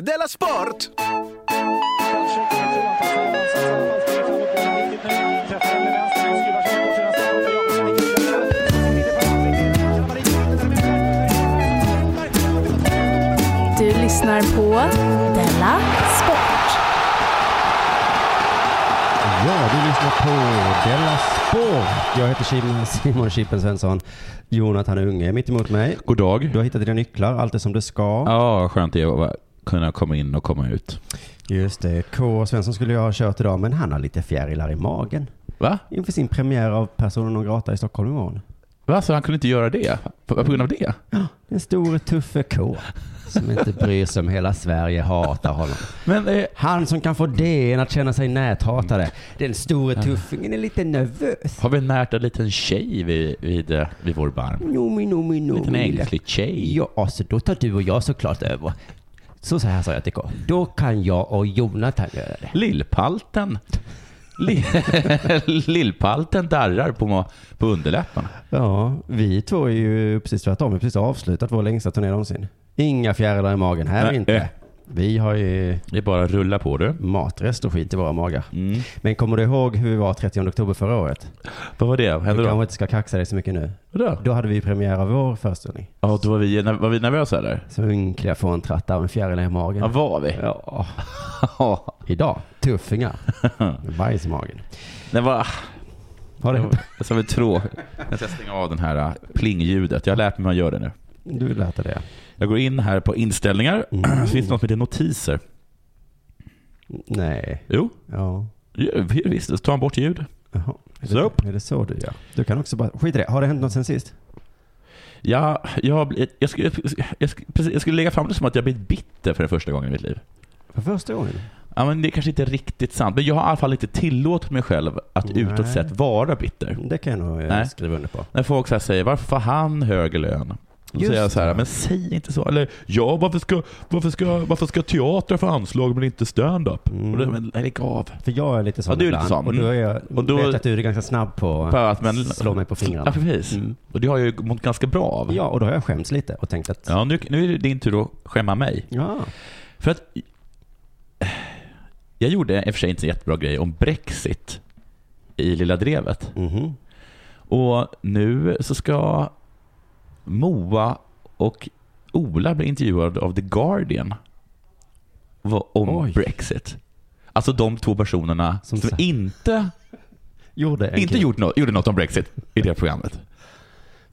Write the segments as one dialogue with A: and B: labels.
A: Della Sport!
B: Du lyssnar på Della Sport.
C: Ja, du lyssnar på Della Sport. Jag heter Simon- Simon Chippen Svensson. Jonathan Unge är mitt emot mig.
D: God dag.
C: Du har hittat dina nycklar, allt är som det ska.
D: Ja, skönt det är att kunna komma in och komma ut.
C: Just det. K. Svensson skulle jag ha kört idag, men han har lite fjärilar i magen.
D: Va?
C: Inför sin premiär av Personen och Grata i Stockholm imorgon.
D: Va? Så han kunde inte göra det? På, på grund av det?
C: Den store tuffe K. Som inte bryr sig om hela Sverige hatar honom.
D: Men eh,
C: Han som kan få DN att känna sig näthatade. Den store tuffingen är lite nervös.
D: har vi närt en liten tjej vid, vid, eh, vid vår barm?
C: Nomi, nomi,
D: En
C: nomi.
D: liten ängslig tjej?
C: Ja, så då tar du och jag såklart över. Så, så här sa jag till K. Då kan jag och Jonathan göra det.
D: Lillpalten. Li- Lillpalten darrar på, ma- på underläpparna.
C: Ja, vi två är ju precis tvärtom. Vi har precis avslutat vår längsta turné någonsin. Inga fjärilar i magen här
D: Nej.
C: inte. Vi har ju
D: Det är bara att rulla på du.
C: matrest och skit i våra magar.
D: Mm.
C: Men kommer du ihåg hur vi var 30 oktober förra året?
D: Vad var det?
C: Du
D: Hände
C: kanske
D: då?
C: inte ska kaxa dig så mycket nu.
D: Vadå?
C: Då hade vi premiär av vår föreställning.
D: Ja, då var vi, var vi nervösa eller?
C: Så ynkliga fåntrattar och en fjäril i
D: Ja,
C: magen.
D: var vi?
C: Ja,
D: Ja.
C: idag. Tuffingar. Med Bajs i magen.
D: Det var...
C: Har det hänt?
D: Jag ska väl trå... Jag ska stänga av den här eh, plingljudet. Jag har lärt mig hur man gör det nu.
C: Du lät det. ja.
D: Jag går in här på inställningar.
C: Mm.
D: Finns det något som heter notiser?
C: Nej.
D: Jo,
C: Ja.
D: ju- visst. Så tar man bort ljud.
C: Jaha. Är det,
D: Så upp.
C: är det så du gör? Du kan också bara... Skit i det. Har det hänt något sen sist?
D: Ja, jag, har blivit- jag, skulle, jag, skulle, precis, jag skulle lägga fram det som att jag blivit bitter för den första gången i mitt liv.
C: För första gången?
D: Ja, men det är kanske inte riktigt sant, men jag har i alla fall inte tillåtit mig själv att
C: Nej.
D: utåt sett vara bitter.
C: Det kan jag nog eh,
D: Nej.
C: skriva under på.
D: När folk så här säger ”Varför får han högre lön?” Då
C: Just
D: säger jag så här,
C: det.
D: men säg inte så. Eller ja, varför ska, varför ska, varför ska teater få anslag men inte stand-up?
C: Mm.
D: Och då, men lägg av.
C: För jag är lite sån
D: Ja, du är lite
C: ibland.
D: sån. Mm.
C: Och då är jag,
D: Och då-
C: vet jag att du är ganska snabb på
D: För att man-
C: att slå mig på fingrarna.
D: Ja, precis.
C: Mm.
D: Och det har jag ju mått ganska bra av.
C: Ja, och då har jag skämts lite och tänkt att...
D: Ja, nu, nu är det din tur att skämma mig.
C: Ja.
D: För att... Jag gjorde i och för sig inte en jättebra grej om Brexit i Lilla Drevet.
C: Mhm.
D: Och nu så ska Moa och Ola bli intervjuade av The Guardian va- om
C: Oj.
D: Brexit. Alltså de två personerna
C: Som
D: som,
C: sa-
D: inte,
C: Gjorde en
D: inte
C: kul-
D: gjort något, gjorde något om Brexit i det programmet.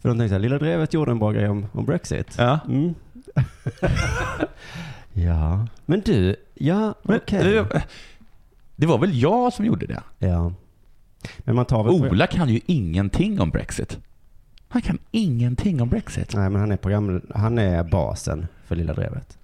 C: För de tänkte att Lilla Drevet gjorde en bra grej om, om Brexit.
D: Ja.
C: Mm. ja. Men du, ja,
D: Men,
C: okej.
D: det, det var väl jag som gjorde det?
C: Ja. Men man tar väl...
D: Ola kan ju ingenting om Brexit. Han kan ingenting om Brexit.
C: Nej, men han är, program... han är basen för Lilla Drevet.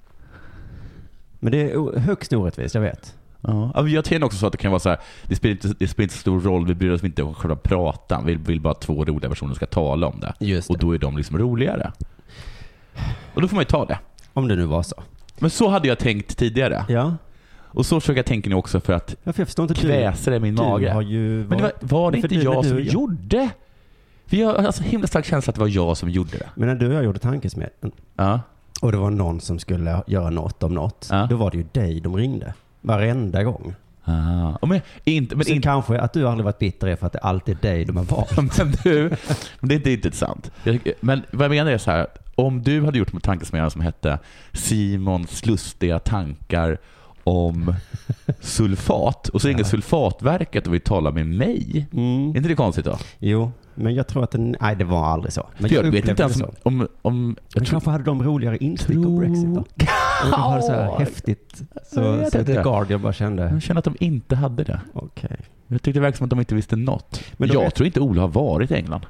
C: Men det är o- högst orättvist, jag vet.
D: Ja. men Jag tänker också så att det kan vara så här, det spelar inte, det spelar inte så stor roll, vi bryr oss inte om själva pratan, vi vill bara att två roliga personer ska tala om det.
C: Just
D: Och då är de liksom roligare. Och då får man ju ta det.
C: Om det nu var så.
D: Men så hade jag tänkt tidigare.
C: Ja.
D: Och så försöker jag tänka nu också för att
C: Ja, för jag förstår inte.
D: kväsa det i min
C: du, du har
D: mage.
C: ju
D: Men det var,
C: varit-
D: var det
C: för
D: inte
C: du- men
D: jag
C: du
D: som
C: och jag-
D: gjorde? För jag har alltså himla stark känsla att det var jag som gjorde det.
C: Men när du och jag gjorde tankesmedjan
D: Ja.
C: och det var någon som skulle göra något om något,
D: Ja.
C: då var det ju dig de ringde. Varenda gång.
D: Ah. Och Men, inte, men
C: Men så
D: inte,
C: kanske att du aldrig varit bitter är för att det alltid är dig de har valt.
D: Men du, men det är inte sant. Jag- Men vad jag menar är så här, om du hade gjort en tankesmedja som hette Simons lustiga tankar om sulfat och så ringer Sulfatverket och vill tala med mig. Är inte det konstigt då?
C: Mm. Jo, men jag tror att det, nej det var aldrig så. Men
D: För jag vet
C: upplevde det
D: inte ens
C: så.
D: om... om, om
C: Men
D: jag tror,
C: kanske hade de roligare instick om
D: Tror-
C: Brexit då? Och de hade så här
D: Ja.
C: häftigt.
D: Jag
C: Så,
D: vet
C: så
D: inte.
C: The Guardian bara kände,
D: jag känner att de inte hade det.
C: okej.
D: Jag tyckte det verkade som att de inte visste något.
C: Men
D: Men
C: då
D: jag
C: vet-
D: tror inte Ola har varit i England.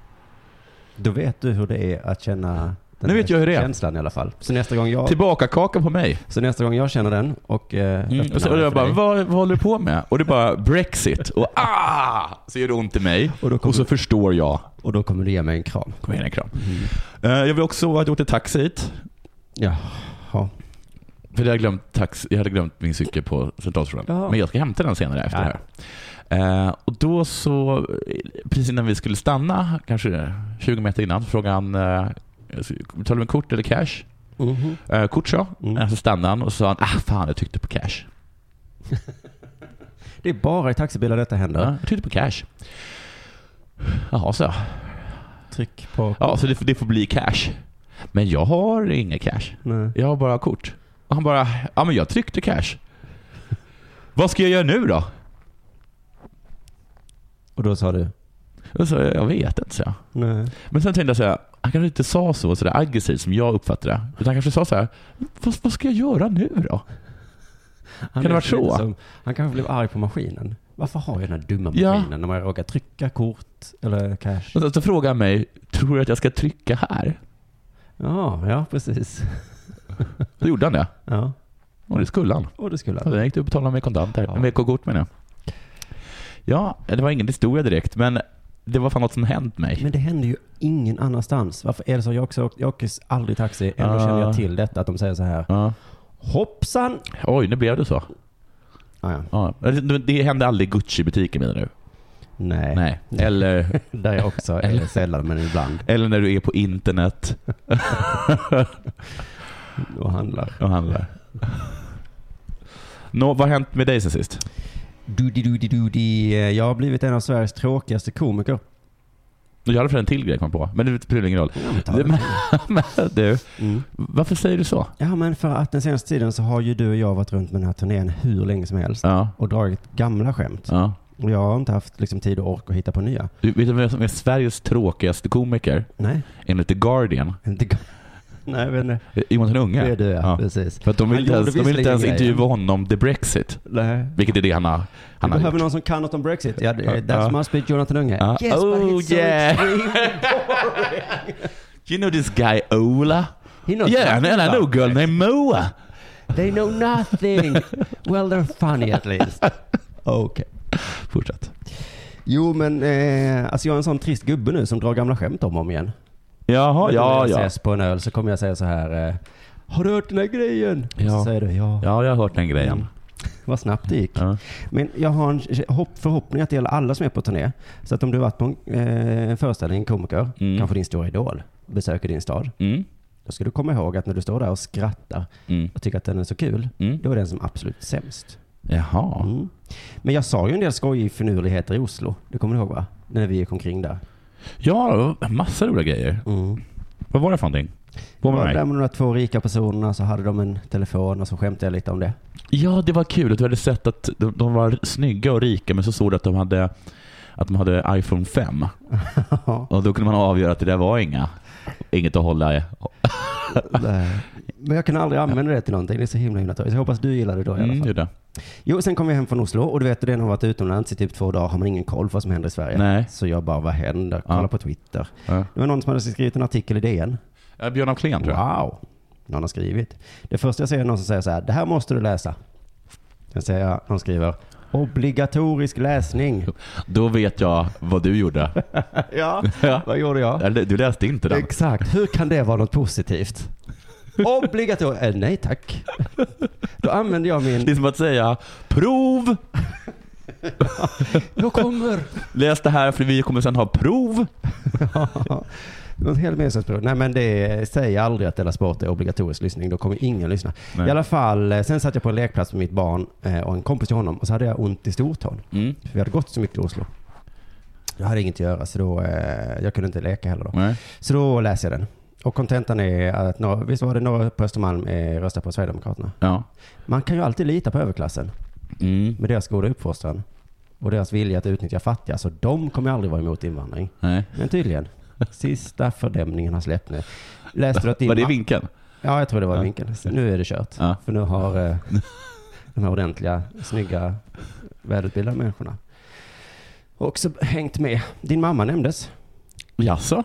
C: Då vet du hur det är att känna den
D: Nu
C: här
D: vet jag hur det är.
C: känslan i alla fall. Så nästa gång jag,
D: Tillbaka kaka på mig.
C: så nästa gång jag känner den och eh,
D: Mm,
C: öppnar
D: och så, och
C: den
D: jag
C: för
D: bara,
C: dig.
D: vad, vad håller du på med? Och det är bara Brexit. Och ah! Så gör det ont i mig.
C: Och då kommer-
D: och så förstår jag.
C: Och då kommer du ge mig en kram.
D: Kom igen, en kram.
C: Mm.
D: Eh, Jag vill också ha gjort en taxi hit.
C: Jaha.
D: För jag hade glömt, tax, jag hade glömt min cykel på Centralstationen.
C: Jaha.
D: Men jag ska hämta den senare efter
C: Ja.
D: det här. Eh, Och då så, precis innan vi eh, skulle stanna, kanske 20 meter innan, frågade han eh, tar du med kort eller cash?
C: Mhm.
D: Eh, Kort så.
C: Mm.
D: Eh, Så stannade han och så sa han, ah fan jag tryckte på cash.
C: Det är bara i taxibilar detta händer.
D: Ja, jag tryckte på cash. Jaha, så.
C: Tryck på...
D: Ja, så det, det får bli cash. Men jag har inga cash.
C: Nej.
D: Jag har bara kort. Och han bara, ja men jag tryckte cash. Vad ska jag göra nu då?
C: Och då sa du?
D: Jag sa, jag vet inte, så jag.
C: Nej.
D: Men sen tänkte jag så här, han kanske inte sa så sådär aggressivt som jag uppfattade det. Utan han kanske sa så här, vad, vad ska jag göra nu då?
C: Han
D: det
C: är
D: vara
C: lite
D: så?
C: Som, han kanske blev arg på maskinen. Varför har jag den här dumma
D: Ja.
C: maskinen när man råkar trycka kort eller cash?
D: Och så, så frågade han mig, tror du att jag ska trycka här?
C: Ja, ja precis.
D: Så gjorde han det.
C: Ja.
D: Och det skulle han.
C: Och det skulle
D: Ja,
C: han.
D: den gick du och betalade med kontanter.
C: Ja.
D: Med kort menar jag. Ja, det var ingen historia direkt, men det var fan något som hänt mig.
C: Men det händer ju ingen annanstans. Varför är det så? Jag, också, jag åker aldrig taxi. Ändå
D: Ja.
C: känner jag till detta att de säger så här.
D: Ja.
C: Hoppsan!
D: Oj, nu blev det så.
C: Ah, ja.
D: Ja. Det, det hände aldrig i Gucci-butiken menar du?
C: Nej.
D: Nej. Eller,
C: Där jag också är
D: Eller-
C: sällan men ibland
D: eller när du är på internet
C: och handlar.
D: och handlar. Nå, vad har hänt med dig sen sist?
C: Doody-doody-doody. Jag har blivit en av Sveriges tråkigaste komiker.
D: Jag hade för en till grej kom på, men det spelar ingen roll.
C: Ja, men ta det.
D: Men, men du,
C: Mm.
D: varför säger du så?
C: Ja, men för att den senaste tiden så har ju du och jag varit runt med den här turnén hur länge som helst
D: Ja.
C: och dragit gamla skämt.
D: ja.
C: Och jag har inte haft liksom, tid och ork att hitta på nya.
D: Du, vet du vem som är Sveriges tråkigaste komiker?
C: Nej,
D: Enligt The Guardian.
C: inte ga- Nej, men det
D: Eh, Jonathan Unge.
C: är du ja.
D: Ja.
C: Precis.
D: För att de vill
C: Han
D: inte ens,
C: gjorde
D: de vill inte
C: visserligen
D: ens
C: grejer.
D: intervjua honom the Brexit.
C: Nej.
D: Vilket är det han har,
C: Du
D: han har
C: behöver
D: gjort.
C: någon som kan något om Brexit. Ja, det-
D: Ja.
C: that's
D: Ja.
C: must be Jonathan Unge.
D: Ja.
C: Yes, but
D: Oh,
C: it's so
D: yeah.
C: extreme.
D: You know this guy Ola?
C: He knows
D: Yeah, and
C: nothing
D: I know a
C: about
D: girl named Moa.
C: Brexit. They know nothing. well, they're funny at least. Okej.
D: Fortsätt.
C: Jo, men eh, alltså jag är en sån trist gubbe nu som drar gamla skämt om och om igen.
D: Jaha, ja,
C: När vi
D: ja.
C: ses på en öl så kommer jag säga så här. eh, Har du hört den här grejen?
D: Ja.
C: Så säger du ja.
D: Ja, jag har hört den
C: Mm.
D: grejen.
C: Vad snabbt det gick.
D: Ja.
C: Men jag har en hopp, förhoppning att det gäller alla som är på turné. Så att om du har varit på en eh, föreställning, en komiker,
D: Mm.
C: kanske din stora idol, besöker din stad.
D: Mm.
C: Då ska du komma ihåg att när du står där och skrattar
D: Mm.
C: och tycker att den är så kul,
D: Mm.
C: då är den som absolut sämst.
D: Jaha.
C: Mm. Men jag sa ju en del skojig finurligheter i Oslo. Det kommer du ihåg va? När vi gick omkring där.
D: Ja, massa roliga grejer.
C: Mm.
D: Vad var det för någonting? Var
C: var
D: med
C: där
D: mig?
C: med de där två rika personerna så hade de en telefon och så skämtade jag lite om det.
D: Ja, det var kul att du hade sett att de, de var snygga och rika men så såg du att de hade, att de hade iPhone 5. Och då kunde man avgöra att det där var inga. Inget att hålla i.
C: Nej. Men jag kan aldrig använda det till någonting. Det är så himla himla tråkigt. Så Jag hoppas du gillar det då i alla
D: Mm,
C: fall.
D: gjorde jag.
C: Jo, sen kom jag hem från Oslo och du vet, det är när man varit utomlands i typ två dagar har man ingen koll på vad som händer i Sverige.
D: Nej.
C: Så jag bara, vad händer? Kolla
D: Ja.
C: på Twitter.
D: Ja.
C: Det var någon som hade skrivit en artikel i DN.
D: Ja, Eh, Björn af Kleen tror jag.
C: Wow! Någon har skrivit. Det första jag ser är någon som säger så här, det här måste du läsa. Sen säger jag, någon skriver, obligatorisk läsning.
D: Då vet jag vad du gjorde.
C: ja,
D: Ja.
C: vad gjorde jag?
D: Eller, Du läste inte den.
C: Exakt. Hur kan det vara något positivt? Obligatoriskt? Eh, nej tack. Då använder jag min...
D: Det är som att säga prov,
C: Jag kommer.
D: läs det här för vi kommer sen ha prov.
C: Något helt meningslöst Nej men det säger aldrig att Della Sport är obligatorisk lyssning. Då kommer ingen lyssna.
D: Nej.
C: I alla fall, eh, sen satt jag på en lekplats med mitt barn eh, och en kompis till honom och så hade jag ont i stortån.
D: Mm.
C: För vi hade gått så mycket i Oslo. Jag hade inget att göra så då, eh, jag kunde inte leka heller då.
D: Nej.
C: Så då läser jag den. Och kontentan är att, några, visst var det några på Östermalm eh, röstar på Sverigedemokraterna?
D: Ja.
C: Man kan ju alltid lita på överklassen.
D: Mm.
C: med deras goda uppfostran och deras vilja att utnyttja fattiga, så de kommer aldrig vara emot invandring.
D: Nej.
C: Men tydligen, sista fördämningen har släppt nu. Läste du att din
D: Var det
C: ma-
D: vinkeln?
C: Ja, jag tror det var
D: Ja.
C: vinkeln. Så Nu är det kört.
D: Ja.
C: För nu har eh, de här ordentliga, snygga, välutbildade människorna också hängt med. Din mamma nämndes.
D: Jaså?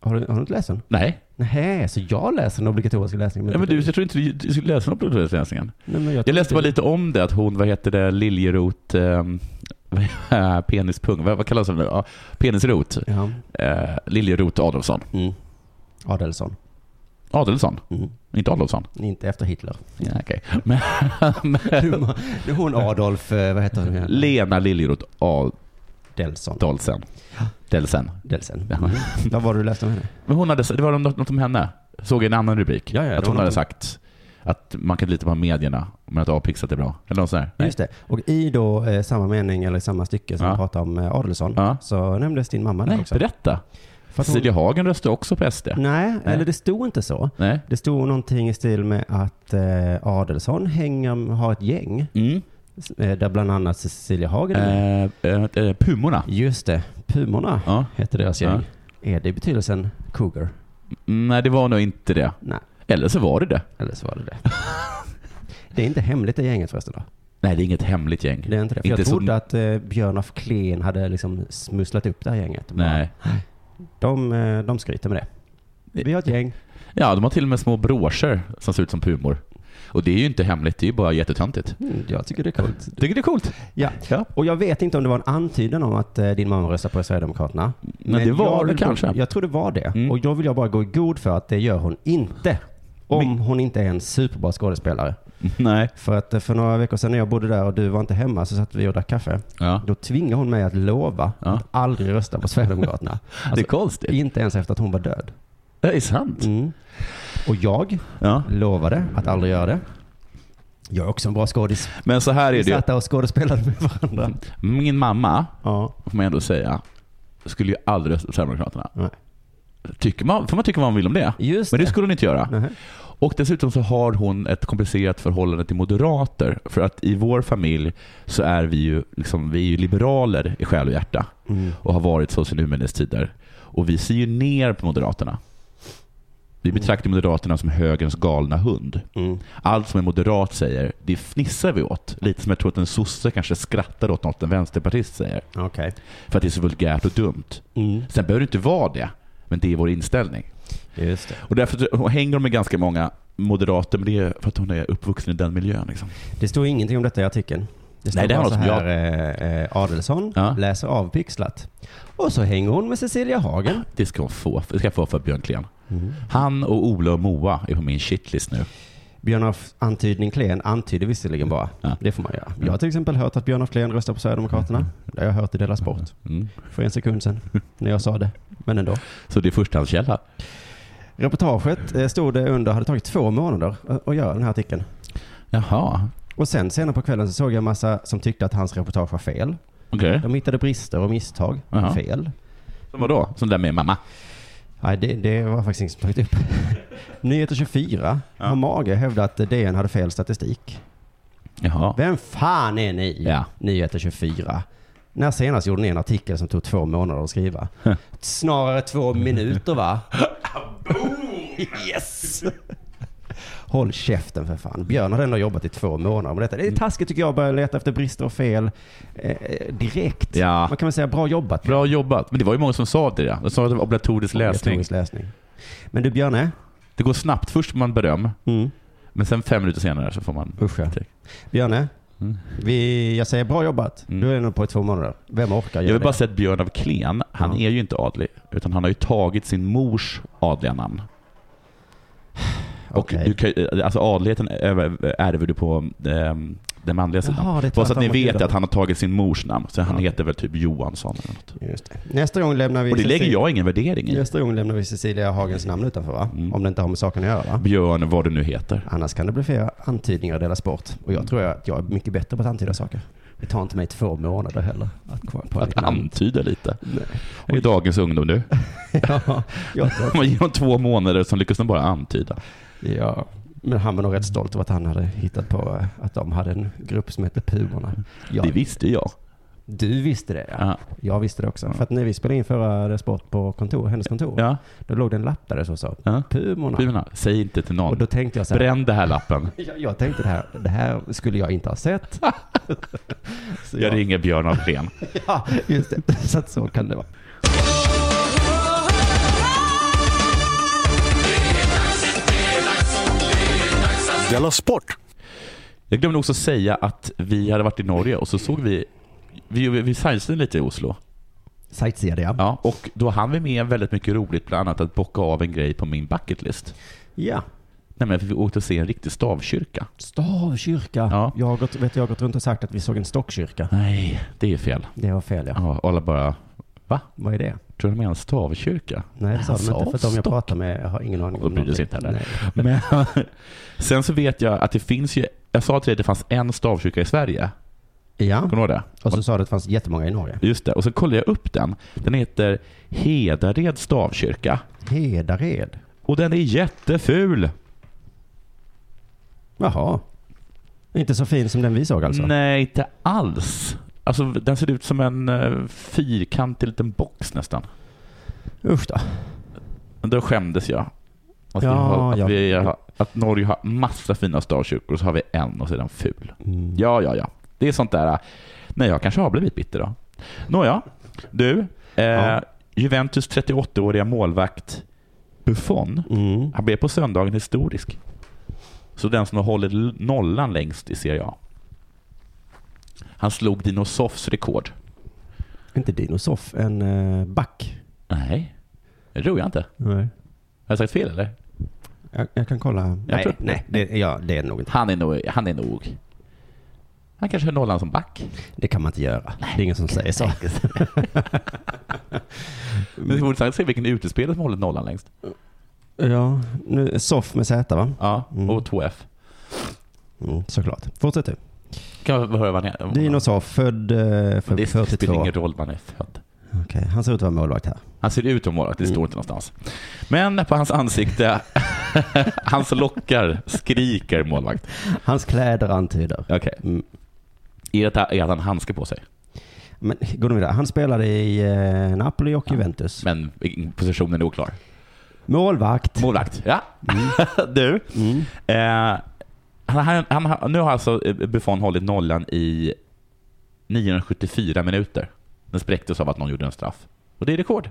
C: Har du, har du inte läst den?
D: Nej.
C: Nej, så jag läser den obligatoriska läsningen.
D: Ja, men
C: inte
D: du, jag tror inte du, du skulle läsa något på den här läsningen.
C: Nej, men jag,
D: Jag
C: tror
D: läste bara
C: inte-
D: lite om det, att hon, vad heter det, Liljerot, ehm, penispung, vad, vad kallas hon nu? Ja, penisrot,
C: Ja.
D: eh, Liljerot Adolfsson.
C: Mm. Adelsson.
D: Adolfsson,
C: Mm.
D: inte Adolfsson.
C: Inte efter Hitler.
D: Ja, okej. Men,
C: Dumma. Det är hon Adolf, eh, vad heter hon? igen?
D: Lena Liljerot
C: Delson.
D: Adolfsen. Delsen.
C: Delsen. Mm.
D: Ja.
C: Vad var det du läste om henne?
D: Men hon hade, det var något, något om henne. Såg en annan rubrik.
C: Ja, ja, det
D: att
C: var
D: hon hade
C: någon-
D: sagt att man kan lita på medierna, men att avpixlat är bra. Eller något sånt där. Nej.
C: Just det. Och i då eh, samma mening eller i samma stycke som
D: Ja.
C: vi pratade om eh, Adelsson
D: Ja.
C: så nämndes din mamma där
D: Nej,
C: också.
D: berätta.
C: För att hon- Mm.
D: Cecilia Hagen röstar också på SD.
C: Nej,
D: Nej.
C: eller det stod inte så.
D: Nej.
C: Det stod någonting i stil med att eh, Adelsson hänger, har ett gäng
D: Mm.
C: eh, där bland annat Cecilia Hagen är med.
D: Eh, eh, eh, Pumorna.
C: Just det, Pumorna
D: Ja.
C: heter deras gäng.
D: Ja.
C: Är det i betydelsen cougar?
D: Mm, Nej, det var nog inte det.
C: Nej,
D: Eller så var det det.
C: eller så var det det. det är inte hemligt det gänget förresten då?
D: Nej, det är inget hemligt gäng.
C: Det är inte det. För
D: Inte
C: jag trodde
D: som-
C: att eh, Björn af Kleen hade liksom smusslat upp det här gänget.
D: Nej.
C: De, eh, de skryter med det. Vi har ett gäng.
D: Ja, de har till och med små broscher som ser ut som pumor. Och det är ju inte hemligt, det är ju bara jättetöntigt.
C: Mm, jag tycker det är coolt.
D: Tycker det är coolt?
C: Ja.
D: Ja.
C: Och jag vet inte om det var en antydan om att eh, din mamma röstar på Sverigedemokraterna.
D: Men, det var
C: jag
D: det
C: vill-
D: kanske.
C: Jag tror det var det.
D: Mm.
C: Och då vill jag bara gå i god för att det gör hon inte. Om
D: Men-
C: hon inte är en superbra skådespelare.
D: Nej.
C: För att eh, för några veckor sedan när jag bodde där och du var inte hemma så satt vi och drack kaffe.
D: Ja.
C: Då tvingade hon mig att lova
D: Ja.
C: att aldrig rösta på Sverigedemokraterna.
D: det är
C: Alltså,
D: konstigt.
C: inte ens efter att hon var död.
D: Det är sant.
C: Mm. Och jag
D: Ja.
C: lovade att aldrig göra det. Jag är också en bra skådis.
D: Men så här är
C: Vi
D: det ju.
C: satt där och skådespelade med varandra.
D: Min mamma,
C: Ja.
D: får man ändå säga, skulle ju aldrig rösta på Sverigedemokraterna.
C: Nej.
D: Tycker man, får man tycka vad man vill om det.
C: Just
D: Men det
C: det.
D: skulle hon inte göra.
C: Nähä.
D: Och dessutom så har hon ett komplicerat förhållande till moderater. För att i vår familj så är vi ju, liksom, vi är ju liberaler i själ och hjärta.
C: Mm.
D: och har varit så sedan urminnes tider. Och vi ser ju ner på Moderaterna. Vi betraktar Moderaterna som högerns galna hund.
C: Mm.
D: Allt som en moderat säger, det fnissar vi åt. Lite som jag tror att en sosse kanske skrattar åt något en vänsterpartist säger.
C: Okej.
D: För att det är så vulgärt och dumt.
C: Mm.
D: Sen behöver det inte vara det, men det är vår inställning.
C: Just det.
D: Och därför hon hänger hon med ganska många moderater, men det är för att hon är uppvuxen i den miljön. Liksom.
C: Det står ingenting om detta i artikeln. Det står
D: Nej, det är
C: bara
D: något
C: så
D: som
C: här, eh, eh, Adelsson
D: Ja.
C: läser avpixlat. Och så hänger hon med Cecilia Hagen.
D: Det ska hon få. Det ska jag få för Björn Klen. Han och Ola och Moa är på min shitlist nu.
C: Björn af antydning Klen antyder visserligen bara.
D: Ja.
C: Det får man göra. Jag har till exempel hört att Björn af Klen röstar på Sverigedemokraterna. Det har jag hört i Della Sport
D: Mm.
C: för en sekund sedan när jag sa det. Men ändå.
D: Så det är förstahandskälla.
C: Reportaget eh, stod det under, hade tagit två månader eh, att- att göra den här artikeln.
D: Jaha,
C: Och sen senare på kvällen så såg jag en massa som tyckte att hans reportage var fel.
D: okej.
C: De hittade brister och misstag.
D: Jaha.
C: Fel.
D: Som vadå? Som det där med mamma?
C: Nej, det, det var faktiskt ingen som tagit upp. Nyheter 24
D: Ja.
C: har mage hävdat att DN hade fel statistik.
D: Jaha.
C: Vem fan är ni?
D: Ja.
C: Nyheter 24. När senast gjorde ni en artikel som tog två månader att skriva? Snarare två minuter va? yes! Håll käften för fan. Björn har ändå jobbat i två månader med detta. Det är taskigt tycker jag att börja leta efter brister och fel eh, direkt.
D: Ja.
C: Man kan väl säga bra jobbat.
D: Bra jobbat. Men det var ju många som sa det. där. De sa att det var obligatorisk läsning.
C: Obligatorisk läsning. Men du Björne.
D: Det går snabbt. Först får man beröm,
C: Mm.
D: men sen fem minuter senare så får man...
C: Usch ja. Björne,
D: Mm.
C: vi, jag säger bra jobbat.
D: Mm.
C: Du är ändå på i två månader. Vem orkar
D: Jag
C: göra
D: vill bara
C: det?
D: säga att Björn av Klen, han
C: Ja.
D: är ju inte adlig. Utan han har ju tagit sin mors adliga namn. Och
C: Okej.
D: du kan, ju- alltså adligheten över- ärver du på ehm, den manliga sidan.
C: Jaha, det är
D: Bara så att
C: tvärtom
D: ni
C: mot
D: vet
C: judarna.
D: att han har tagit sin mors namn. Så han
C: Ja.
D: heter väl typ Johansson eller något.
C: Just det. Nästa gång lämnar vi
D: Och det
C: Cecilia-
D: lägger jag ingen värdering i.
C: Nästa gång lämnar vi Cecilia Hagens namn utanför va?
D: Mm.
C: Om det inte har med saken att göra va?
D: Björn, vad du nu heter.
C: Annars kan det bli flera antydningar att dela sport. Och jag tror att jag är mycket bättre på att antyda saker. Det tar inte mig två månader heller att komma på ett
D: Att
C: namn.
D: antyda lite.
C: Nej.
D: Det är dagens ungdom nu.
C: Ja, jag tror,
D: Man ger dem två månader som lyckas de bara antyda.
C: ja. Men han var nog rätt stolt över att han hade hittat på eh, att de hade en grupp som hette Pumorna.
D: Det
C: Jag,
D: visste jag.
C: du visste det ja.
D: Ja.
C: Jag visste det också.
D: Ja.
C: För att när vi spelade in förra Della sport på kontor, hennes kontor,
D: Ja.
C: då låg det en lapp där det så sa
D: Ja.
C: Pumorna.
D: Pumorna, säg inte till
C: Och
D: någon.
C: då tänkte jag så här,
D: Bränn det här lappen.
C: Jag, jag tänkte det här, det här skulle jag inte ha sett. Så
D: Jag ringer Björn av Klen.
C: Ja, just det. Så att så kan det vara.
A: Della Sport!
D: Jag glömde också säga att vi hade varit i Norge och så såg vi vi, vi, vi sightseeing lite i Oslo.
C: Sightseeade jag.
D: Ja, och då hann vi med väldigt mycket roligt, bland annat att bocka av en grej på min bucketlist.
C: Ja.
D: Nämligen att vi åkte och se en riktig stavkyrka.
C: Stavkyrka.
D: Ja.
C: Jag har gått, vet, jag har gått runt och sagt att vi såg en stockkyrka.
D: Nej, det är fel.
C: Det var fel ja.
D: Ja, och alla bara, va?
C: Vad är det?
D: Tror du de är en stavkyrka?
C: Nej, det sa
D: Han
C: de inte. För att
D: sa
C: de jag
D: Alltså, stock.
C: pratar med, jag har ingen aning
D: Och
C: om
D: då bryr
C: någonting.
D: sig inte heller.
C: Nej.
D: Men sen så vet jag att det finns ju, jag sa till dig att det fanns en stavkyrka i Sverige.
C: Ja,
D: Kommer du ihåg det?
C: och så sa du att det fanns jättemånga i Norge.
D: Just det. Och så kollade jag upp den. Den heter Hedared stavkyrka.
C: Hedared.
D: Och den är jätteful.
C: Jaha. Inte så fin som den vi såg alltså?
D: Nej, inte alls. Alltså den ser ut som en eh, fyrkantig liten box nästan.
C: Usch då.
D: Men då skämdes jag. Att, vi
C: Ja,
D: har, att,
C: ja.
D: vi har, att Norge har massa fina stavkyrkor och så har vi en och så är den ful.
C: Mm.
D: Ja, ja, ja. Det är sånt där. äh, Nej, jag kanske har blivit bitter då. Nåja, du. Eh,
C: Ja.
D: Juventus 38-åriga målvakt Buffon.
C: Mm.
D: Han blev på söndagen historisk. Så den som har hållit l- nollan längst i Serie A. Han slog Dino Soffs rekord.
C: Inte dinosoff, en eh, back.
D: Nej, det tror jag inte. Har
C: Nej.
D: jag sagt fel eller?
C: Jag, jag kan kolla. nej,
D: tror-
C: nej det, ja, det är det nog inte.
D: Han är nog... Han, är nog. han kanske höll nollan som back.
C: Det kan man inte göra. Det är ingen som säger så.
D: Men det vore intressant att se vilken utespelare som håller nollan längst.
C: Ja, nu, soff med Z va?
D: Ja,
C: Mm.
D: och 2F.
C: Mm, såklart. Fortsätt du.
D: Kan jag höra vad han är?
C: Dinosoff, född eh,
D: Men
C: för
D: det spelar
C: 42.
D: ingen roll var han är född.
C: Okej, han ser ut att vara målvakt här.
D: Han ser ut som målvakt, det står inte någonstans. Men på hans ansikte, hans lockar skriker målvakt.
C: Hans kläder antyder.
D: Okej.
C: Mm.
D: Är det är att han handskar på sig?
C: Men går nu vidare. Han spelade i eh, Napoli och Juventus.
D: Men vilken- positionen är oklar.
C: Målvakt.
D: Målvakt, ja. du.
C: Mm.
D: Eh, han, han, han, har- nu har alltså Buffon hållit nollan i 974 minuter. Den spräcktes av att någon gjorde en straff. Och det är rekord.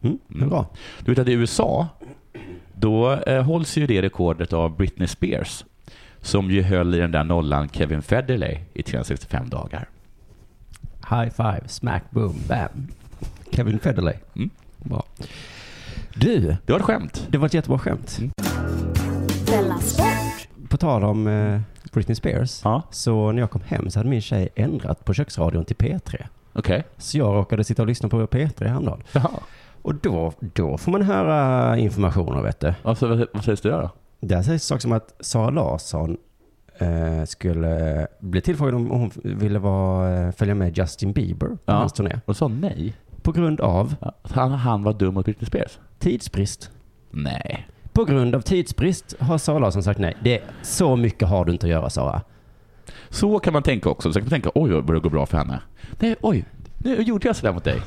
C: Mm. det är Bra.
D: Du vet att i USA, då eh, hålls ju det rekordet av Britney Spears. Som ju höll i den där nollan Kevin Federley i 365 dagar.
C: High five, smack, boom, bam. Kevin Federley.
D: Mm.
C: Bra. Du,
D: Det var ett skämt.
C: det var ett jättebra skämt.
D: Mm.
B: Della Sport.
C: På tal om eh, Britney Spears.
D: Ja,
C: Så när jag kom hem så hade min tjej ändrat på köksradion till P3.
D: okej.
C: Så jag råkade sitta och lyssna på P3 häromdagen.
D: Jaha.
C: Och då, då får man höra informationer vet du.
D: Alltså, vad, vad sägs det där då?
C: Där sägs saker som att Sara Larsson eh, skulle bli tillfrågad om hon ville vara, eh, följa med Justin Bieber på
D: Ja.
C: hans turné.
D: Och sa nej.
C: På grund av
D: Ja, att Han, han var dum mot Britney Spears.
C: tidsbrist.
D: Nej.
C: På grund av tidsbrist har Sara Larsson sagt nej. Det, så mycket har du inte att göra Sara.
D: Så kan man tänka också. Så kan man tänka, oj vad det går bra för henne. Nej, oj, nu gjorde jag sådär mot dig.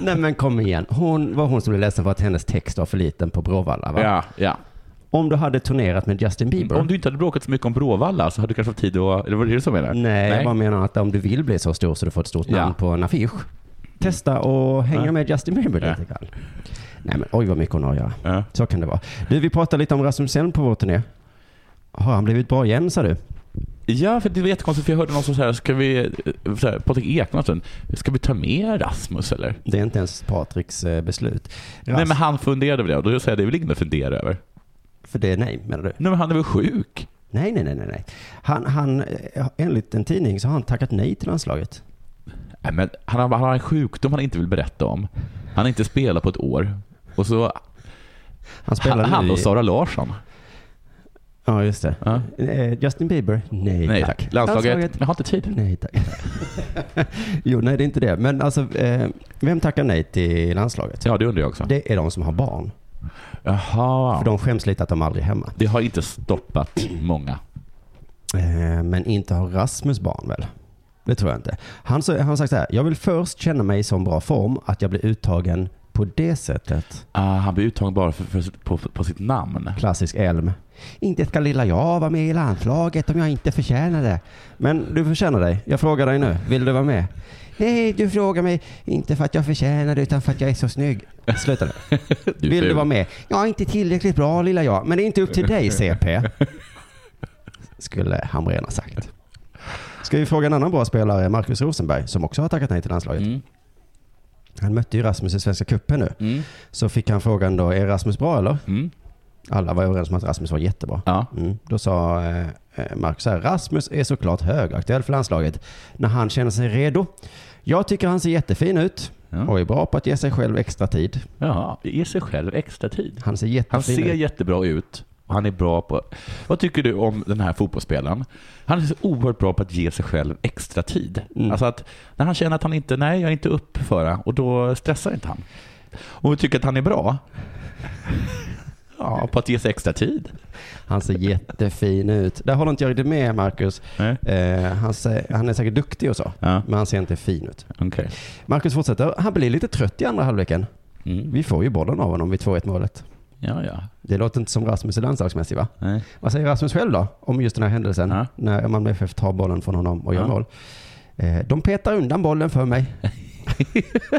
C: Nej men kom igen. Hon var hon som blev ledsen för att hennes text var för liten på Bråvalla va?
D: Ja, ja.
C: Om du hade turnerat med Justin Bieber.
D: Om du inte hade bråkat så mycket om Bråvalla så hade du kanske haft tid att... Eller var det det du som menar?
C: Nej, jag bara menar att om du vill bli så stor så du får ett stort
D: Ja.
C: namn på en affisch. Testa och hänga
D: Ja.
C: med Justin Bieber
D: Ja.
C: lite grann. Nej men oj vad mycket hon har att göra.
D: Ja.
C: Så kan det vara. Du, vi pratade lite om Rasmussen på vår turné. Har han blivit bra igen sa du?
D: Ja, för det var jättekonstigt för jag hörde någon som så här, ska vi, eh, så här, Patrik Ekwall sen, ska vi ta med Rasmus eller?
C: Det är inte ens Patriks eh, beslut.
D: Nej
C: Ras-
D: men han funderade över det och då säger jag det är väl ingen att fundera över.
C: För det är nej menar du?
D: Nej men han är väl sjuk?
C: Nej, nej, nej, nej, nej. Han, han, eh, enligt en tidning så har han tackat nej till landslaget.
D: Nej, men han, har, han har en sjukdom han inte vill berätta om. Han har inte spelat på ett år. Och så
C: Han spelar
D: han,
C: nu
D: han
C: i-
D: och Sara Larsson.
C: Ja, just det.
D: Ja.
C: Eh, Justin Bieber? Nej,
D: Nej
C: tack.
D: tack. Landslaget, jag har inte tid.
C: Nej tack. jo, nej det är inte det. Men alltså, eh, vem tackar nej till landslaget?
D: Ja det undrar jag också.
C: Det är de som har barn.
D: Jaha.
C: För de skäms lite att de aldrig är hemma.
D: Det har inte stoppat många.
C: Eh, men inte har Rasmus barn väl? Det tror jag inte. Han, sa- han har sagt så här, jag vill först känna mig i sån bra form att jag blir uttagen på det sättet.
D: Ah, han blir uttagen bara för, för, på, på sitt namn.
C: Klassisk Elm. Inte ska lilla jag vara med i landslaget om jag inte förtjänar det. Men du förtjänar dig. Jag frågar dig nu. Vill du vara med? Nej, du frågar mig inte för att jag förtjänar det utan för att jag är så snygg. Sluta nu.
D: är
C: Vill du
D: ful.
C: vara med? Jag är inte tillräckligt bra lilla jag, men det är inte upp till dig CP. Skulle Hamrén ha sagt. Ska vi fråga en annan bra spelare, Markus Rosenberg, som också har tackat nej till landslaget.
D: Mm.
C: Han mötte ju Rasmus i Svenska cupen nu.
D: Mm.
C: Så fick han frågan då, är Rasmus bra eller?
D: Mm.
C: Alla var överens om att Rasmus var jättebra.
D: Ja.
C: Mm. Då sa eh, eh, Marcus så här, Rasmus är såklart högaktuell för landslaget när han känner sig redo. Jag tycker han ser jättefin ut
D: Ja.
C: och är bra på att ge sig själv extra tid.
D: Jaha, ge sig själv extra tid.
C: Han ser jättefin
D: Han ser
C: ut.
D: jättebra ut och han är bra på... Vad tycker du om den här fotbollsspelaren? Han är så oerhört bra på att ge sig själv extra tid.
C: Mm.
D: Alltså att när han känner att han inte, nej jag är inte upp för det, och då stressar inte han. Och vi tycker att han är bra. Ja, på att ge sig extra tid.
C: Han ser jättefin ut. Där håller inte jag riktigt med Marcus.
D: Nej.
C: Eh, han, ser, han är säkert duktig och så,
D: Ja,
C: men han ser inte fin ut.
D: okej.
C: Marcus fortsätter. Han blir lite trött i andra halvleken.
D: Mm.
C: Vi får ju bollen av honom vid 2-1 målet.
D: Ja, ja.
C: Det låter inte som Rasmus är landslagsmässig va?
D: Nej.
C: Vad säger Rasmus själv då om just den här händelsen?
D: Ja.
C: När Malmö FF tar bollen från honom och gör
D: Ja.
C: mål. Eh, De petar undan bollen för mig.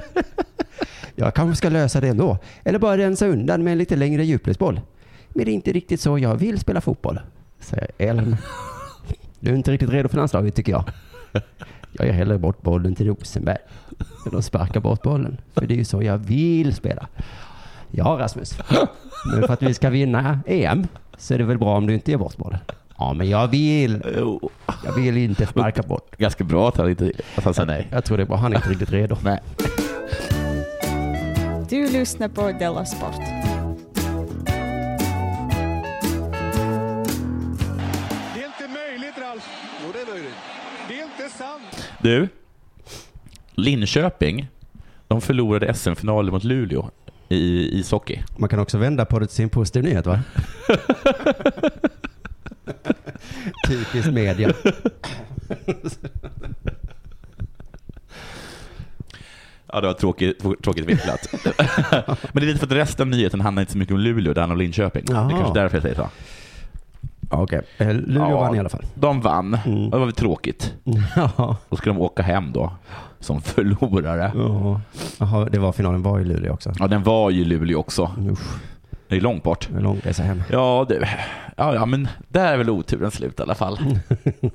C: jag kanske ska lösa det ändå. Eller bara rensa undan med en lite längre djupledsboll. Men det är inte riktigt så jag vill spela fotboll, säger Elm. Du är inte riktigt redo för landslaget tycker jag. Jag ger hellre bort bollen till Rosenberg. Men de sparkar bort bollen. För det är ju så jag vill spela. Ja, Rasmus. Men för att vi ska vinna EM så är det väl bra om du inte ger bort bollen. Ja, men jag vill.
D: Jo,
C: Jag vill inte sparka bort.
D: Eh, Ganska bra att han, inte, att han sa nej.
C: Jag tror det är bra. Han är inte riktigt redo.
D: Nej.
B: Du lyssnar på Della Sport.
E: Det är inte möjligt, Ralf. Jo, det är möjligt. Det är inte sant.
D: Du, Linköping, de förlorade SM-finalen mot Luleå i ishockey.
C: Man kan också vända på det till sin positiv nyhet, va? Typiskt media.
D: Ja, det var tråkigt, tråkigt vinklat. Men det är lite för att resten av nyheten handlar inte så mycket om Luleå, det handlar om Linköping.
C: Jaha.
D: Det är kanske därför jag säger så.
C: Okej. Eh, Luleå
D: Ja.
C: vann i alla fall.
D: De vann.
C: Mm.
D: Och Det var väl tråkigt.
C: Ja.
D: Då ska de åka hem då, som förlorare.
C: Ja. Jaha, det var finalen var i Luleå också.
D: Ja, den var ju i Luleå också.
C: Usch,
D: Det är långt bort.
C: det är en lång resa hem.
D: Ja, du. Ja, ja, men där är väl oturen slut i alla fall.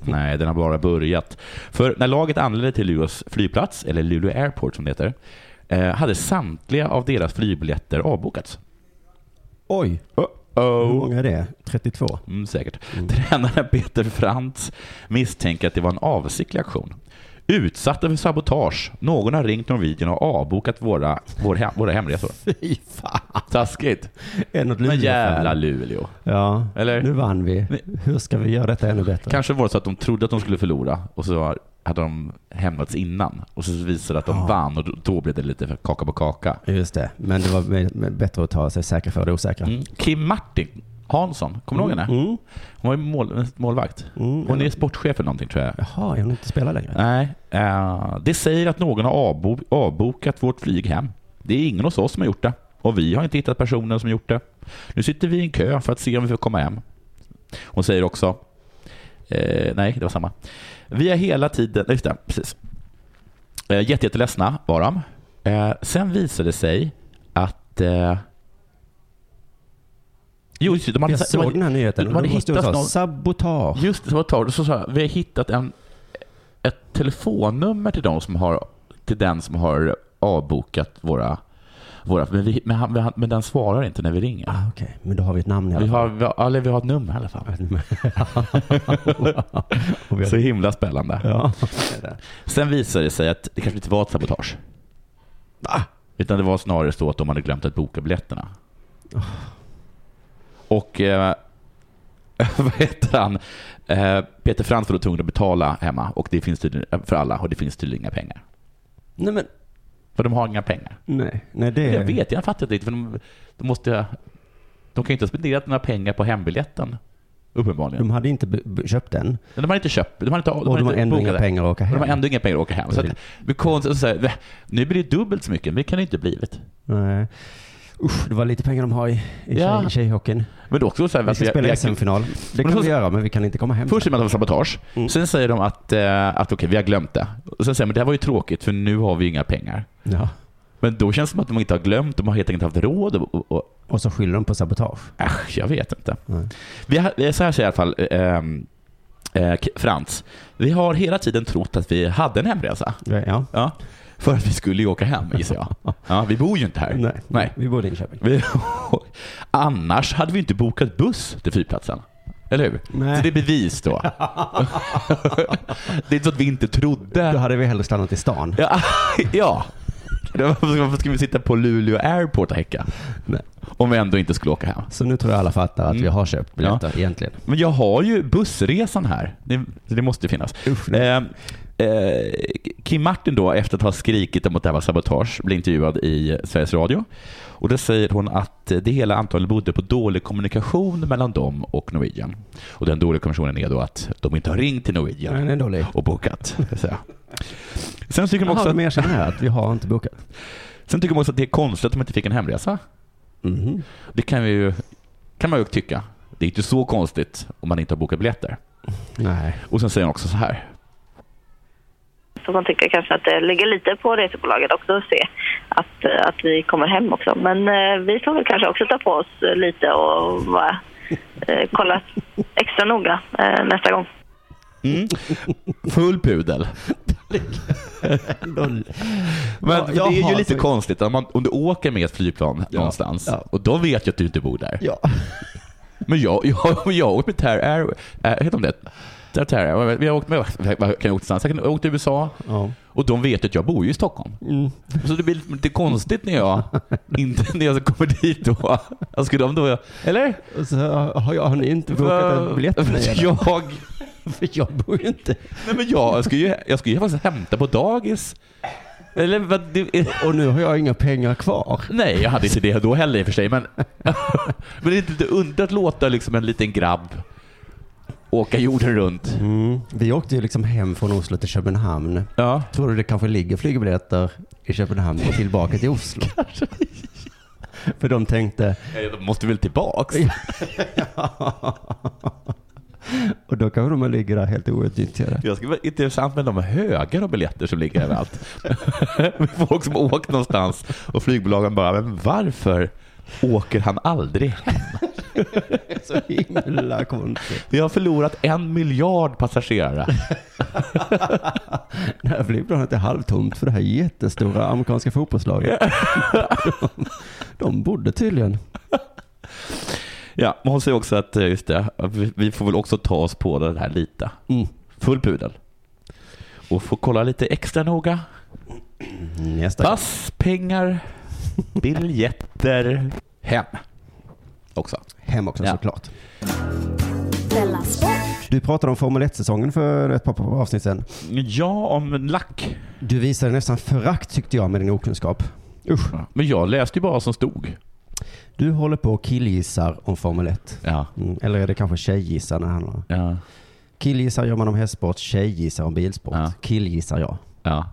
D: Nej, den har bara börjat. För när laget anlände till Luleås flygplats, eller Luleå Airport som det heter, eh, hade samtliga av deras flygbiljetter avbokats.
C: Oj, hur
D: Uh-oh.
C: många är det? 32?
D: Mm, säkert. Tränaren Peter Frantz misstänker att det var en avsiktlig aktion. Utsatta för sabotage. Någon har ringt Norwegian och avbokat våra, vår hem, våra hemresor.
C: Fy fan.
D: Taskigt.
C: Är det något
D: Men
C: Luleå-fan?
D: jävla Luleå.
C: Ja,
D: Eller?
C: nu vann vi.
D: Men-
C: Hur ska vi göra detta ännu bättre?
D: Kanske var det så att de trodde att de skulle förlora och så hade de hämnats innan och så visade det att de
C: Ja.
D: vann och då- då blev det lite för kaka på kaka.
C: Just det, men det var med- med- bättre att ta sig säker för det osäkra.
D: Mm. Kim Martin Hansson, kommer du ihåg henne?
C: Mm.
D: Hon var ju mål, målvakt.
C: Mm.
D: Hon är sportchef eller någonting tror jag.
C: Jaha, jag vill inte spela längre.
D: Nej, eh, det säger att någon har avbo avbokat vårt flyg hem. Det är ingen hos oss som har gjort det. Och vi har inte hittat personen som gjort det. Nu sitter vi i en kö för att se om vi får komma hem. Hon säger också... Eh, nej, det var samma. Vi har hela tiden... Just det, precis. Eh, jätte, jätteledsna var de. Eh, sen visade det sig att... Eh, jo, just det, de hade,
C: Jag
D: sa- de
C: såg
D: hade,
C: den här nyheten och
D: de
C: då
D: hade
C: måste jag
D: hittat
C: ta
D: någon-
C: sabotage.
D: Just det, som var torrt. Så sa jag, vi har hittat en, ett telefonnummer till, de som har, till den som har avbokat våra... våra men, vi, men, han, men han- men den svarar inte när vi ringer.
C: Ah, Okej, men då har vi ett namn i alla
D: Vi
C: fall.
D: har, vi, har, eller vi har ett nummer i alla fall.
C: Och vi har-
D: Så himla spännande.
C: Ja.
D: Sen visade det sig att det kanske inte var ett sabotage.
C: Va?
D: Utan det var snarare så att de hade glömt att boka biljetterna. Och eh, vad heter han? Eh, Peter Frans var då tvungen att betala hemma och det finns tydligen, eh, för alla och det finns tydligen inga pengar.
C: Nej, men
D: För de har inga pengar.
C: nej. nej det...
D: Jag vet, jag fattar inte riktigt. För de, de, måste, de kan ju inte ha spenderat några pengar på hembiljetten. Uppenbarligen.
C: De hade inte b- b- köpt den
D: De, de har inte köpt, de har inte, de
C: Mm. och de har
D: inte
C: ändå
D: bokat
C: inga
D: det.
C: pengar att åka
D: Och
C: hem.
D: de har ändå inga pengar att åka hem. Så att,
C: Precis.
D: det är konstigt att säga, "Väh, nu blir det dubbelt så mycket, men det kan det inte blivit.
C: Nej. Usch, det var lite pengar de har i, i
D: Ja.
C: tjej, tjejhockeyn.
D: Men då också så här,
C: Vi ska
D: vi-
C: spela
D: vi-
C: SM-final. Det Alltså, kan
D: först-
C: vi göra, men vi kan inte komma hem.
D: Först säger man att det var sabotage,
C: Mm.
D: sen säger de att, eh, att okej, vi har glömt det. Och sen säger man det här var ju tråkigt för nu har vi inga pengar.
C: Ja.
D: Men då känns det som att de inte har glömt, de har helt enkelt haft råd. Och, och, och,
C: Och så skyller de på sabotage.
D: äsch, jag vet inte.
C: Nej.
D: Vi har, eh, så här säger i alla fall eh, eh, K- Frans. Vi har hela tiden trott att vi hade en hemresa.
C: Ja.
D: Ja, för att vi skulle ju åka hem gissar jag. Ja, vi bor ju inte här.
C: Nej.
D: Nej.
C: Vi bor i Linköping.
D: Vi, annars hade vi inte bokat buss till flygplatsen. Eller hur?
C: Nej.
D: Så det är bevis då. det är inte så att vi inte
C: Då
D: trodde.
C: hade vi hellre stannat i stan.
D: Ja. ja. Varför ska vi sitta på Luleå Airport och häcka?
C: Nej.
D: Om vi ändå inte skulle åka hem.
C: Så nu tror jag alla fattar att
D: Mm.
C: vi har köpt biljetter
D: Ja.
C: egentligen.
D: Men jag har ju bussresan här. Det, så det måste ju finnas. Eh, eh, Kim Martin då, efter att ha skrikit om att det här var sabotage, blir intervjuad i Sveriges Radio. Och då säger hon att eh, det hela antagligen berodde på dålig kommunikation mellan dem och Norwegian. Och den dåliga kommunikationen är då att de inte har ringt till Norwegian
C: Nej, den är dålig.
D: och bokat. så att säga. Sen tycker, de
C: Jaha,
D: också
C: de
D: att,
C: erkänner här att vi har inte bokat.
D: sen tycker de också att det är konstigt att de inte fick en hemresa.
C: Mhm.
D: Det kan, vi ju, kan man ju tycka. Det är inte så konstigt om man inte har bokat biljetter.
C: Nej.
D: Och sen säger hon också så här.
F: Så man tycker kanske att det ligger lite på resebolaget också att se att, eh, att vi kommer hem också. Men eh, vi får väl kanske också ta på oss eh, lite och vara, eh, kolla extra noga eh, nästa gång.
D: Mm. Full pudel. Men
C: Ja,
D: det är
C: jaha,
D: ju lite
C: så-
D: konstigt om, man, om du åker med ett flygplan någonstans
C: ja.
D: och de vet ju att du inte bor där.
C: Ja.
D: Men jag, jag, jag har åkt med Terra Air, äh, heter de det? Terra, Terra, vi har åkt med, vad kan jag åka någonstans? Jag kan- jag har åkt till USA
C: ja.
D: och de vet ju att jag bor ju i Stockholm.
C: Mm.
D: Så det blir lite konstigt när jag, inte när jag kommer dit då. Jag skulle de då, eller?
C: Och Så har, jag, har ni inte bokat en biljett till mig? eller?
D: Jag,
C: För jag bor ju inte...
D: nej men jag, jag ska ju, jag ska ju faktiskt hämta på dagis. Eller vad, det,
C: Och nu har jag inga pengar kvar.
D: Nej, jag hade inte det då heller i och för sig. Men, men det är inte lite under att låta liksom en liten grabb åka jorden runt.
C: Vi åkte ju liksom hem från Oslo till Köpenhamn.
D: Ja.
C: Tror du det kanske ligger flygbiljetter i Köpenhamn och tillbaka till Oslo? För de tänkte,
D: Jag måste väl tillbaks?
C: och då kanske de ligger där helt outnyttjade.
D: Jag ska vara intressant med de högar av biljetter som ligger överallt. Med Folk som åkt någonstans och flygbolagen bara, men varför åker han aldrig hem?
C: Så himla konstigt.
D: Vi har förlorat en miljard passagerare.
C: Det här flygplanet är halvtomt för det här jättestora amerikanska fotbollslaget. De, de bodde tydligen.
D: Ja, men hon säger också att, eh, just det, att vi- vi får väl också ta oss på det här lite.
C: Mm.
D: Full pudel. Och få kolla lite extra noga.
C: Nästa gång.
D: Pass, pengar, biljetter, hem. Också.
C: Hem också
D: Ja.
C: såklart. Du pratade om Formel 1-säsongen för ett par avsnitt sedan.
D: Ja, om lack.
C: Du visade nästan förakt tyckte jag med din okunskap. Usch.
D: Men jag läste ju bara vad som stod.
C: Du håller på och killgissar om Formel 1.
D: Ja.
C: Mm. Eller är det kanske tjejgissar när han har...
D: Ja.
C: Killgissar gör man om hästsport, tjejgissar om bilsport.
D: Ja.
C: Killgissar jag.
D: ja.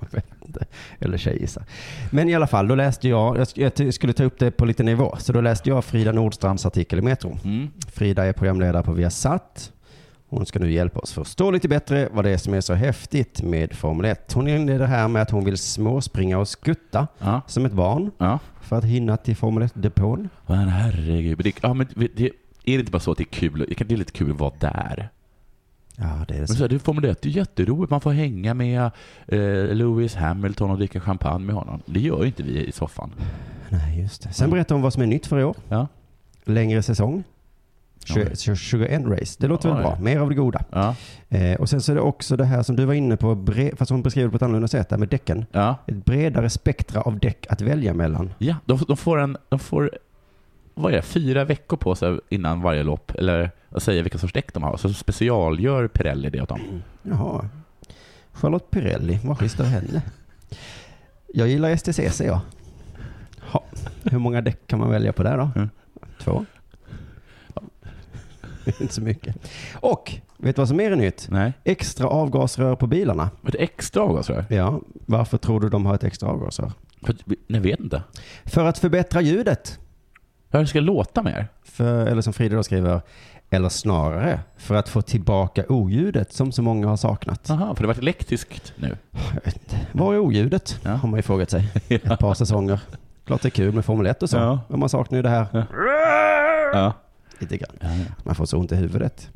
C: Jag vet inte. Eller tjejgissar. Men i alla fall, då läste jag, jag sk- jag ty- skulle ta upp det på lite nivå, så då läste jag Frida Nordstrands artikel i Metro.
D: Mm.
C: Frida är programledare på Viasat. Hon ska nu hjälpa oss förstå lite bättre vad det är som är så häftigt med Formel 1. Hon inleder här med att hon vill småspringa och skutta
D: Ja.
C: som ett barn
D: ja.
C: för att hinna till Formel 1-depån.
D: Men herregud. Men Det, ja, men det, det, är det inte bara så att det är kul? Det är lite kul att vara där.
C: Ja, det är
D: Men
C: så.
D: så här, det är Formel 1, det är jätteroligt. Man får hänga med eh, Lewis Hamilton och dricka champagne med honom. Det gör ju inte vi i soffan.
C: Nej, just det. Sen berättar hon vad som är nytt för i år.
D: Ja.
C: Längre säsong.
D: Ja,
C: Tjugo- tjugo- 21 race. Det låter
D: Ja,
C: väl bra.
D: ja.
C: Mer av det goda.
D: Ja.
C: Eh, och sen så är det också det här som du var inne på, bre- fast hon beskriver det på ett annorlunda sätt, där med däcken.
D: Ja.
C: Ett bredare spektra av däck att välja mellan.
D: Ja, de, de får en... De får, vad är det, fyra veckor på sig innan varje lopp, eller att säga vilka sorts däck de har. Så specialgör Pirelli det åt dem.
C: Jaha. Charlotte Pirelli, vad visste av henne? Jag gillar STCC jag. Ha. Hur många däck kan man välja på där då?
D: Mm.
C: Två? Inte så mycket. Och, vet du vad som är nytt?
D: Nej.
C: Extra avgasrör på bilarna.
D: Ett extra avgasrör?
C: Ja, varför tror du de har ett extra avgasrör?
D: För att- Nej, vet inte.
C: För att förbättra ljudet.
D: Hur ska det låta mer?
C: För, eller som Frida då skriver, eller snarare för att få tillbaka oljudet som så många har saknat.
D: Aha, för det har varit elektriskt nu.
C: Jag vet inte. Var är oljudet?
D: Ja.
C: Har man ju frågat sig.
D: Ja.
C: Ett par säsonger. Klart det är kul med Formel 1 och så.
D: Ja.
C: Men man saknar ju det här
D: Ja.
C: lite grann.
D: Ja, ja.
C: Man får så ont i huvudet.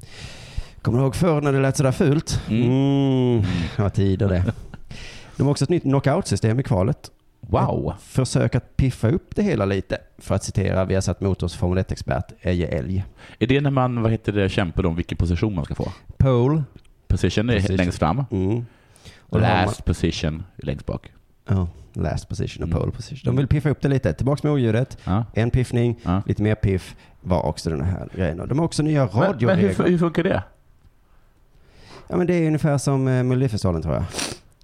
C: Kommer du ihåg förr när det lät sådär fult?
D: Mm.
C: Mm. Det var tider det. De har också ett nytt knockout-system i kvalet.
D: Wow.
C: Försök att piffa upp det hela lite, för att citera Viasat Motors Formel 1-expert Eje Elg.
D: Är det när man vad heter det, kämpar om vilken position man ska få?
C: Pole.
D: Position är
C: Position.
D: längst fram.
C: Mm.
D: Och
C: då har man-
D: last position är längst bak.
C: Ja, last position och
D: Mm.
C: pole position. De vill piffa upp det lite. Tillbaks med oljudet.
D: Ja.
C: En piffning,
D: Ja.
C: lite mer piff var också den här grejen. Och De har också nya
D: Men, men hur,
C: radioregler.
D: fu- hur funkar det?
C: Ja, men det är ungefär som eh, Melodifestivalen tror jag.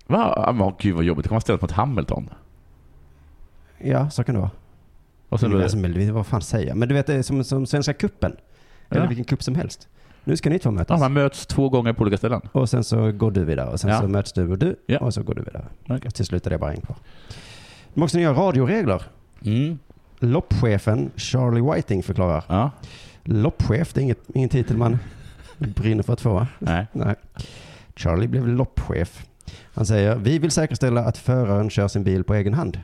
D: Va? Ja, men gud vad jobbigt. Då kan man ställas mot Hamilton.
C: Ja, så kan det vara.
D: Och sen,
C: Men alltså, Melodi, vad fan säger jag? Men du vet, det är som, som Svenska kuppen Eller
D: Ja.
C: vilken kupp som helst. Nu ska ni två
D: ja,
C: mötas.
D: man möts två gånger på olika ställen.
C: och sen så går du vidare. Och sen
D: Ja.
C: så möts du och du.
D: Ja.
C: Och så går du vidare.
D: Okej.
C: Och till slut är det bara en kvar. De har också nya radioregler.
D: Mm.
C: Loppchefen Charlie Whiting förklarar.
D: Ja.
C: Loppchef, det är inget, ingen titel man brinner för att få va?
D: Nej.
C: Nej. Charlie blev loppchef. Han säger, vi vill säkerställa att föraren kör sin bil på egen hand.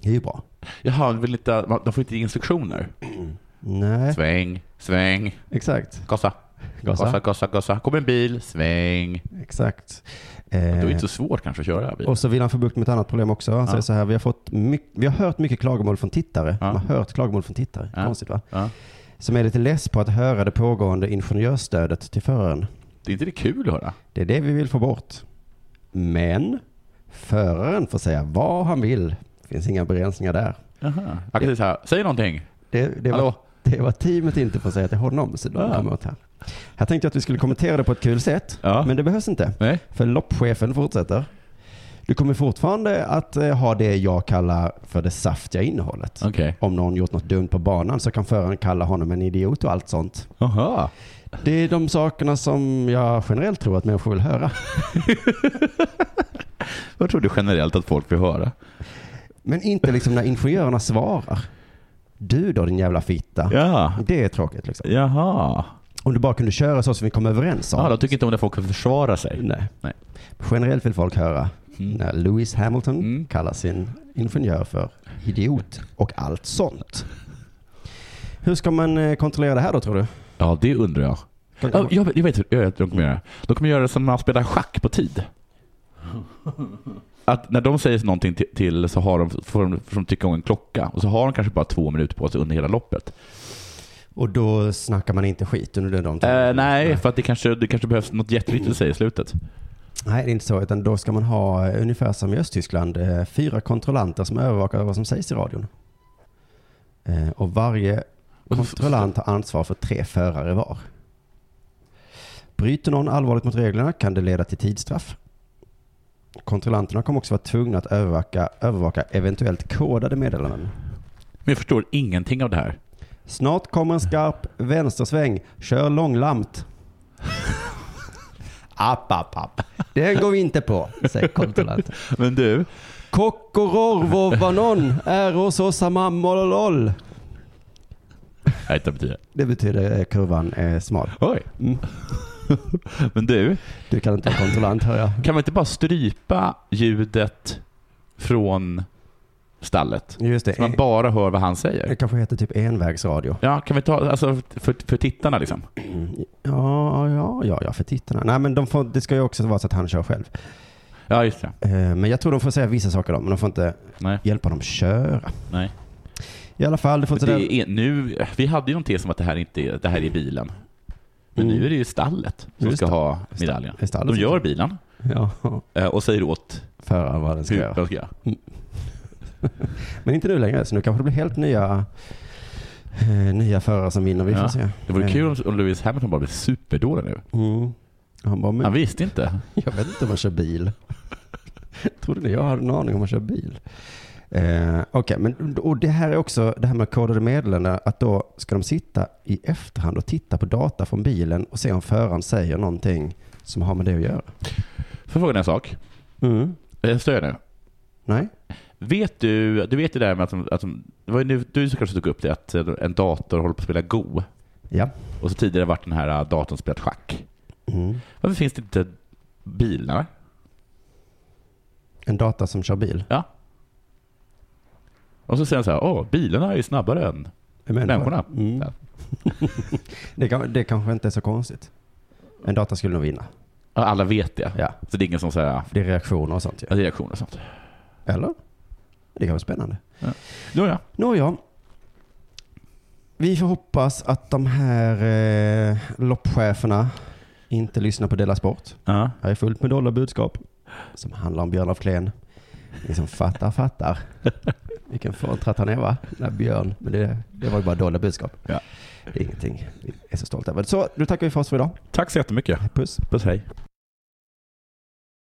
C: Det är ju bra.
D: Jaha, de vill inte, man- de får inte instruktioner. Äh.
C: Nej,
D: Sväng, sväng,
C: exakt.
D: gasa.
C: Gasa.
D: Gasa, gasa, gasa. Kom en bil, sväng.
C: Exakt.
D: Det är
C: Eh,
D: ju inte så svårt kanske att köra bil.
C: och så vill han få bukt med ett annat problem också. Han
D: Ja.
C: säger så här, vi har, fått mycket, vi har hört mycket klagomål från tittare.
D: Ja.
C: Man har hört klagomål från tittare.
D: Ja.
C: Konstigt va?
D: Ja.
C: Som är lite less på att höra det pågående ingenjörsstödet till föraren.
D: Det är inte det kul att höra?
C: Det är det vi vill få bort. Men föraren får säga vad han vill. Det finns inga begränsningar där.
D: Jaha. Jag kan säga så här, säg någonting.
C: Det, det, var,
D: Hallå?
C: det var teamet inte får säga till honom, så de
D: Ah.
C: kom åt här. Här tänkte jag att vi skulle kommentera det på ett kul sätt,
D: Ja.
C: men det behövs inte.
D: Nej.
C: För loppchefen fortsätter. Du kommer fortfarande att eh, ha det jag kallar för det saftiga innehållet.
D: Okej.
C: Om någon gjort något dumt på banan så kan föraren kalla honom en idiot och allt sånt.
D: Jaha.
C: Det är de sakerna som jag generellt tror att människor vill höra.
D: Vad tror du generellt att folk vill höra?
C: Men inte liksom när ingenjörerna svarar. Du då din jävla fitta.
D: Ja.
C: Det är tråkigt liksom.
D: Jaha.
C: Om du bara kunde köra så som vi kom överens om.
D: Ja, de tycker inte om när folk kan försvara sig.
C: Nej.
D: Nej.
C: Generellt vill folk höra
D: Mm.
C: när Lewis Hamilton
D: Mm.
C: kallar sin ingenjör för idiot och allt sånt. Hur ska man eh, kontrollera det här då tror du?
D: Ja, det undrar jag. Ja, jag, vet- jag vet hur jag vet hur de kommer göra. De kommer göra det som när man spelar schack på tid. Att när de säger någonting till, till så har de, får, de, får de tycka om en klocka och så har de kanske bara två minuter på sig under hela loppet.
C: Och då snackar man inte skit under de
D: Eh, nej,
C: Nej.
D: för att det kanske, det kanske behövs något jätteviktigt att säga i slutet.
C: Nej, det är inte så. Utan då ska man ha, eh, ungefär som i Östtyskland, eh, fyra kontrollanter som övervakar vad som sägs i radion. Eh, Och varje kontrollant har ansvar för tre förare var. Bryter någon allvarligt mot reglerna kan det leda till tidsstraff. Kontrollanterna kommer också vara tvungna att övervaka, övervaka eventuellt kodade meddelanden.
D: Men jag förstår ingenting av det här.
C: Snart kommer en skarp vänstersväng. Kör långlamt. app, app, app. Den går vi inte på, säger kontrollanten.
D: Men du,
C: Kokororvovanon är hos oss mammololol.
D: jag hittar betyder.
C: Det betyder eh, kurvan är smal.
D: Oj.
C: Mm.
D: Men du,
C: Du kan inte vara kontrollant hör jag.
D: kan man inte bara strypa ljudet från stallet?
C: Just det.
D: Så man bara hör vad han
C: Det
D: säger.
C: kanske heter typ envägsradio. Mm.
D: Ja, kan vi ta, alltså för, för tittarna liksom.
C: Ja, ja, ja, ja, för tittarna. Nej, men de får, det ska ju också vara så att han kör själv.
D: Ja, just det.
C: Eh, Men jag tror de får säga vissa saker då, men de får inte
D: Nej.
C: hjälpa dem köra.
D: Nej.
C: I alla fall, det får inte
D: Det är, nu, vi hade ju någon tes om att det här, inte är, det här är bilen. Men
C: Mm.
D: nu är det ju stallet
C: Nu är
D: som
C: det
D: ska
C: stall-
D: ha medaljen.
C: Är stallet
D: De
C: som-
D: gör bilen
C: Ja.
D: eh, och säger åt
C: föraren vad den ska
D: hur
C: göra.
D: de ska göra.
C: Men inte nu längre, så nu kanske det blir helt nya, eh, nya förare som vinner. Vi får
D: Ja.
C: se.
D: Det vore
C: Eh,
D: kul om- om Lewis Hamilton bara blev superdålig nu.
C: Mm. Han bara, men
D: Han visste inte.
C: jag vet inte om man kör bil. Trodde ni jag hade en aning om man kör bil? Eh, Okej, men och det här är också det här med kodade meddelanden, att då ska de sitta i efterhand och titta på data från bilen och se om föraren säger någonting som har med det att göra.
D: Får jag fråga dig en sak?
C: Mm.
D: Jag stör nu.
C: Nej?
D: Vet du, du vet det där med att, de, att de, det var ju nu, du som kanske tog upp det, att en dator håller på att spela Go.
C: Ja.
D: Och så tidigare varit den här äh, datorn spelat schack.
C: Mm.
D: Varför finns det inte bilar?
C: En data som kör bil.
D: Ja. Och så säger de så här, åh, bilarna är ju snabbare än...
C: Men-
D: Människorna.
C: Mm.
D: Ja.
C: det, kan, det kanske inte är så konstigt. En data skulle nog vinna.
D: Ja, Alla vet det.
C: Ja.
D: Så det är ingen som säger,
C: För det är reaktioner och sånt ju.
D: ja, det är reaktioner och sånt.
C: Eller? Det kan vara spännande.
D: Jo, ja.
C: Nåja. Vi får hoppas att de här eh, loppcheferna inte lyssnar på Della Sport.
D: ja.
C: Här är fullt med dolda budskap som handlar om Björn af Klen. Ni som fattar, fattar. Vilken fåntratt han är va? Den där Björn. Men det, det var ju bara dolda budskap.
D: Ja.
C: Det är ingenting vi är så stolta över. Så, då tackar vi för oss för idag.
G: Tack så jättemycket.
C: Puss.
D: Puss hej.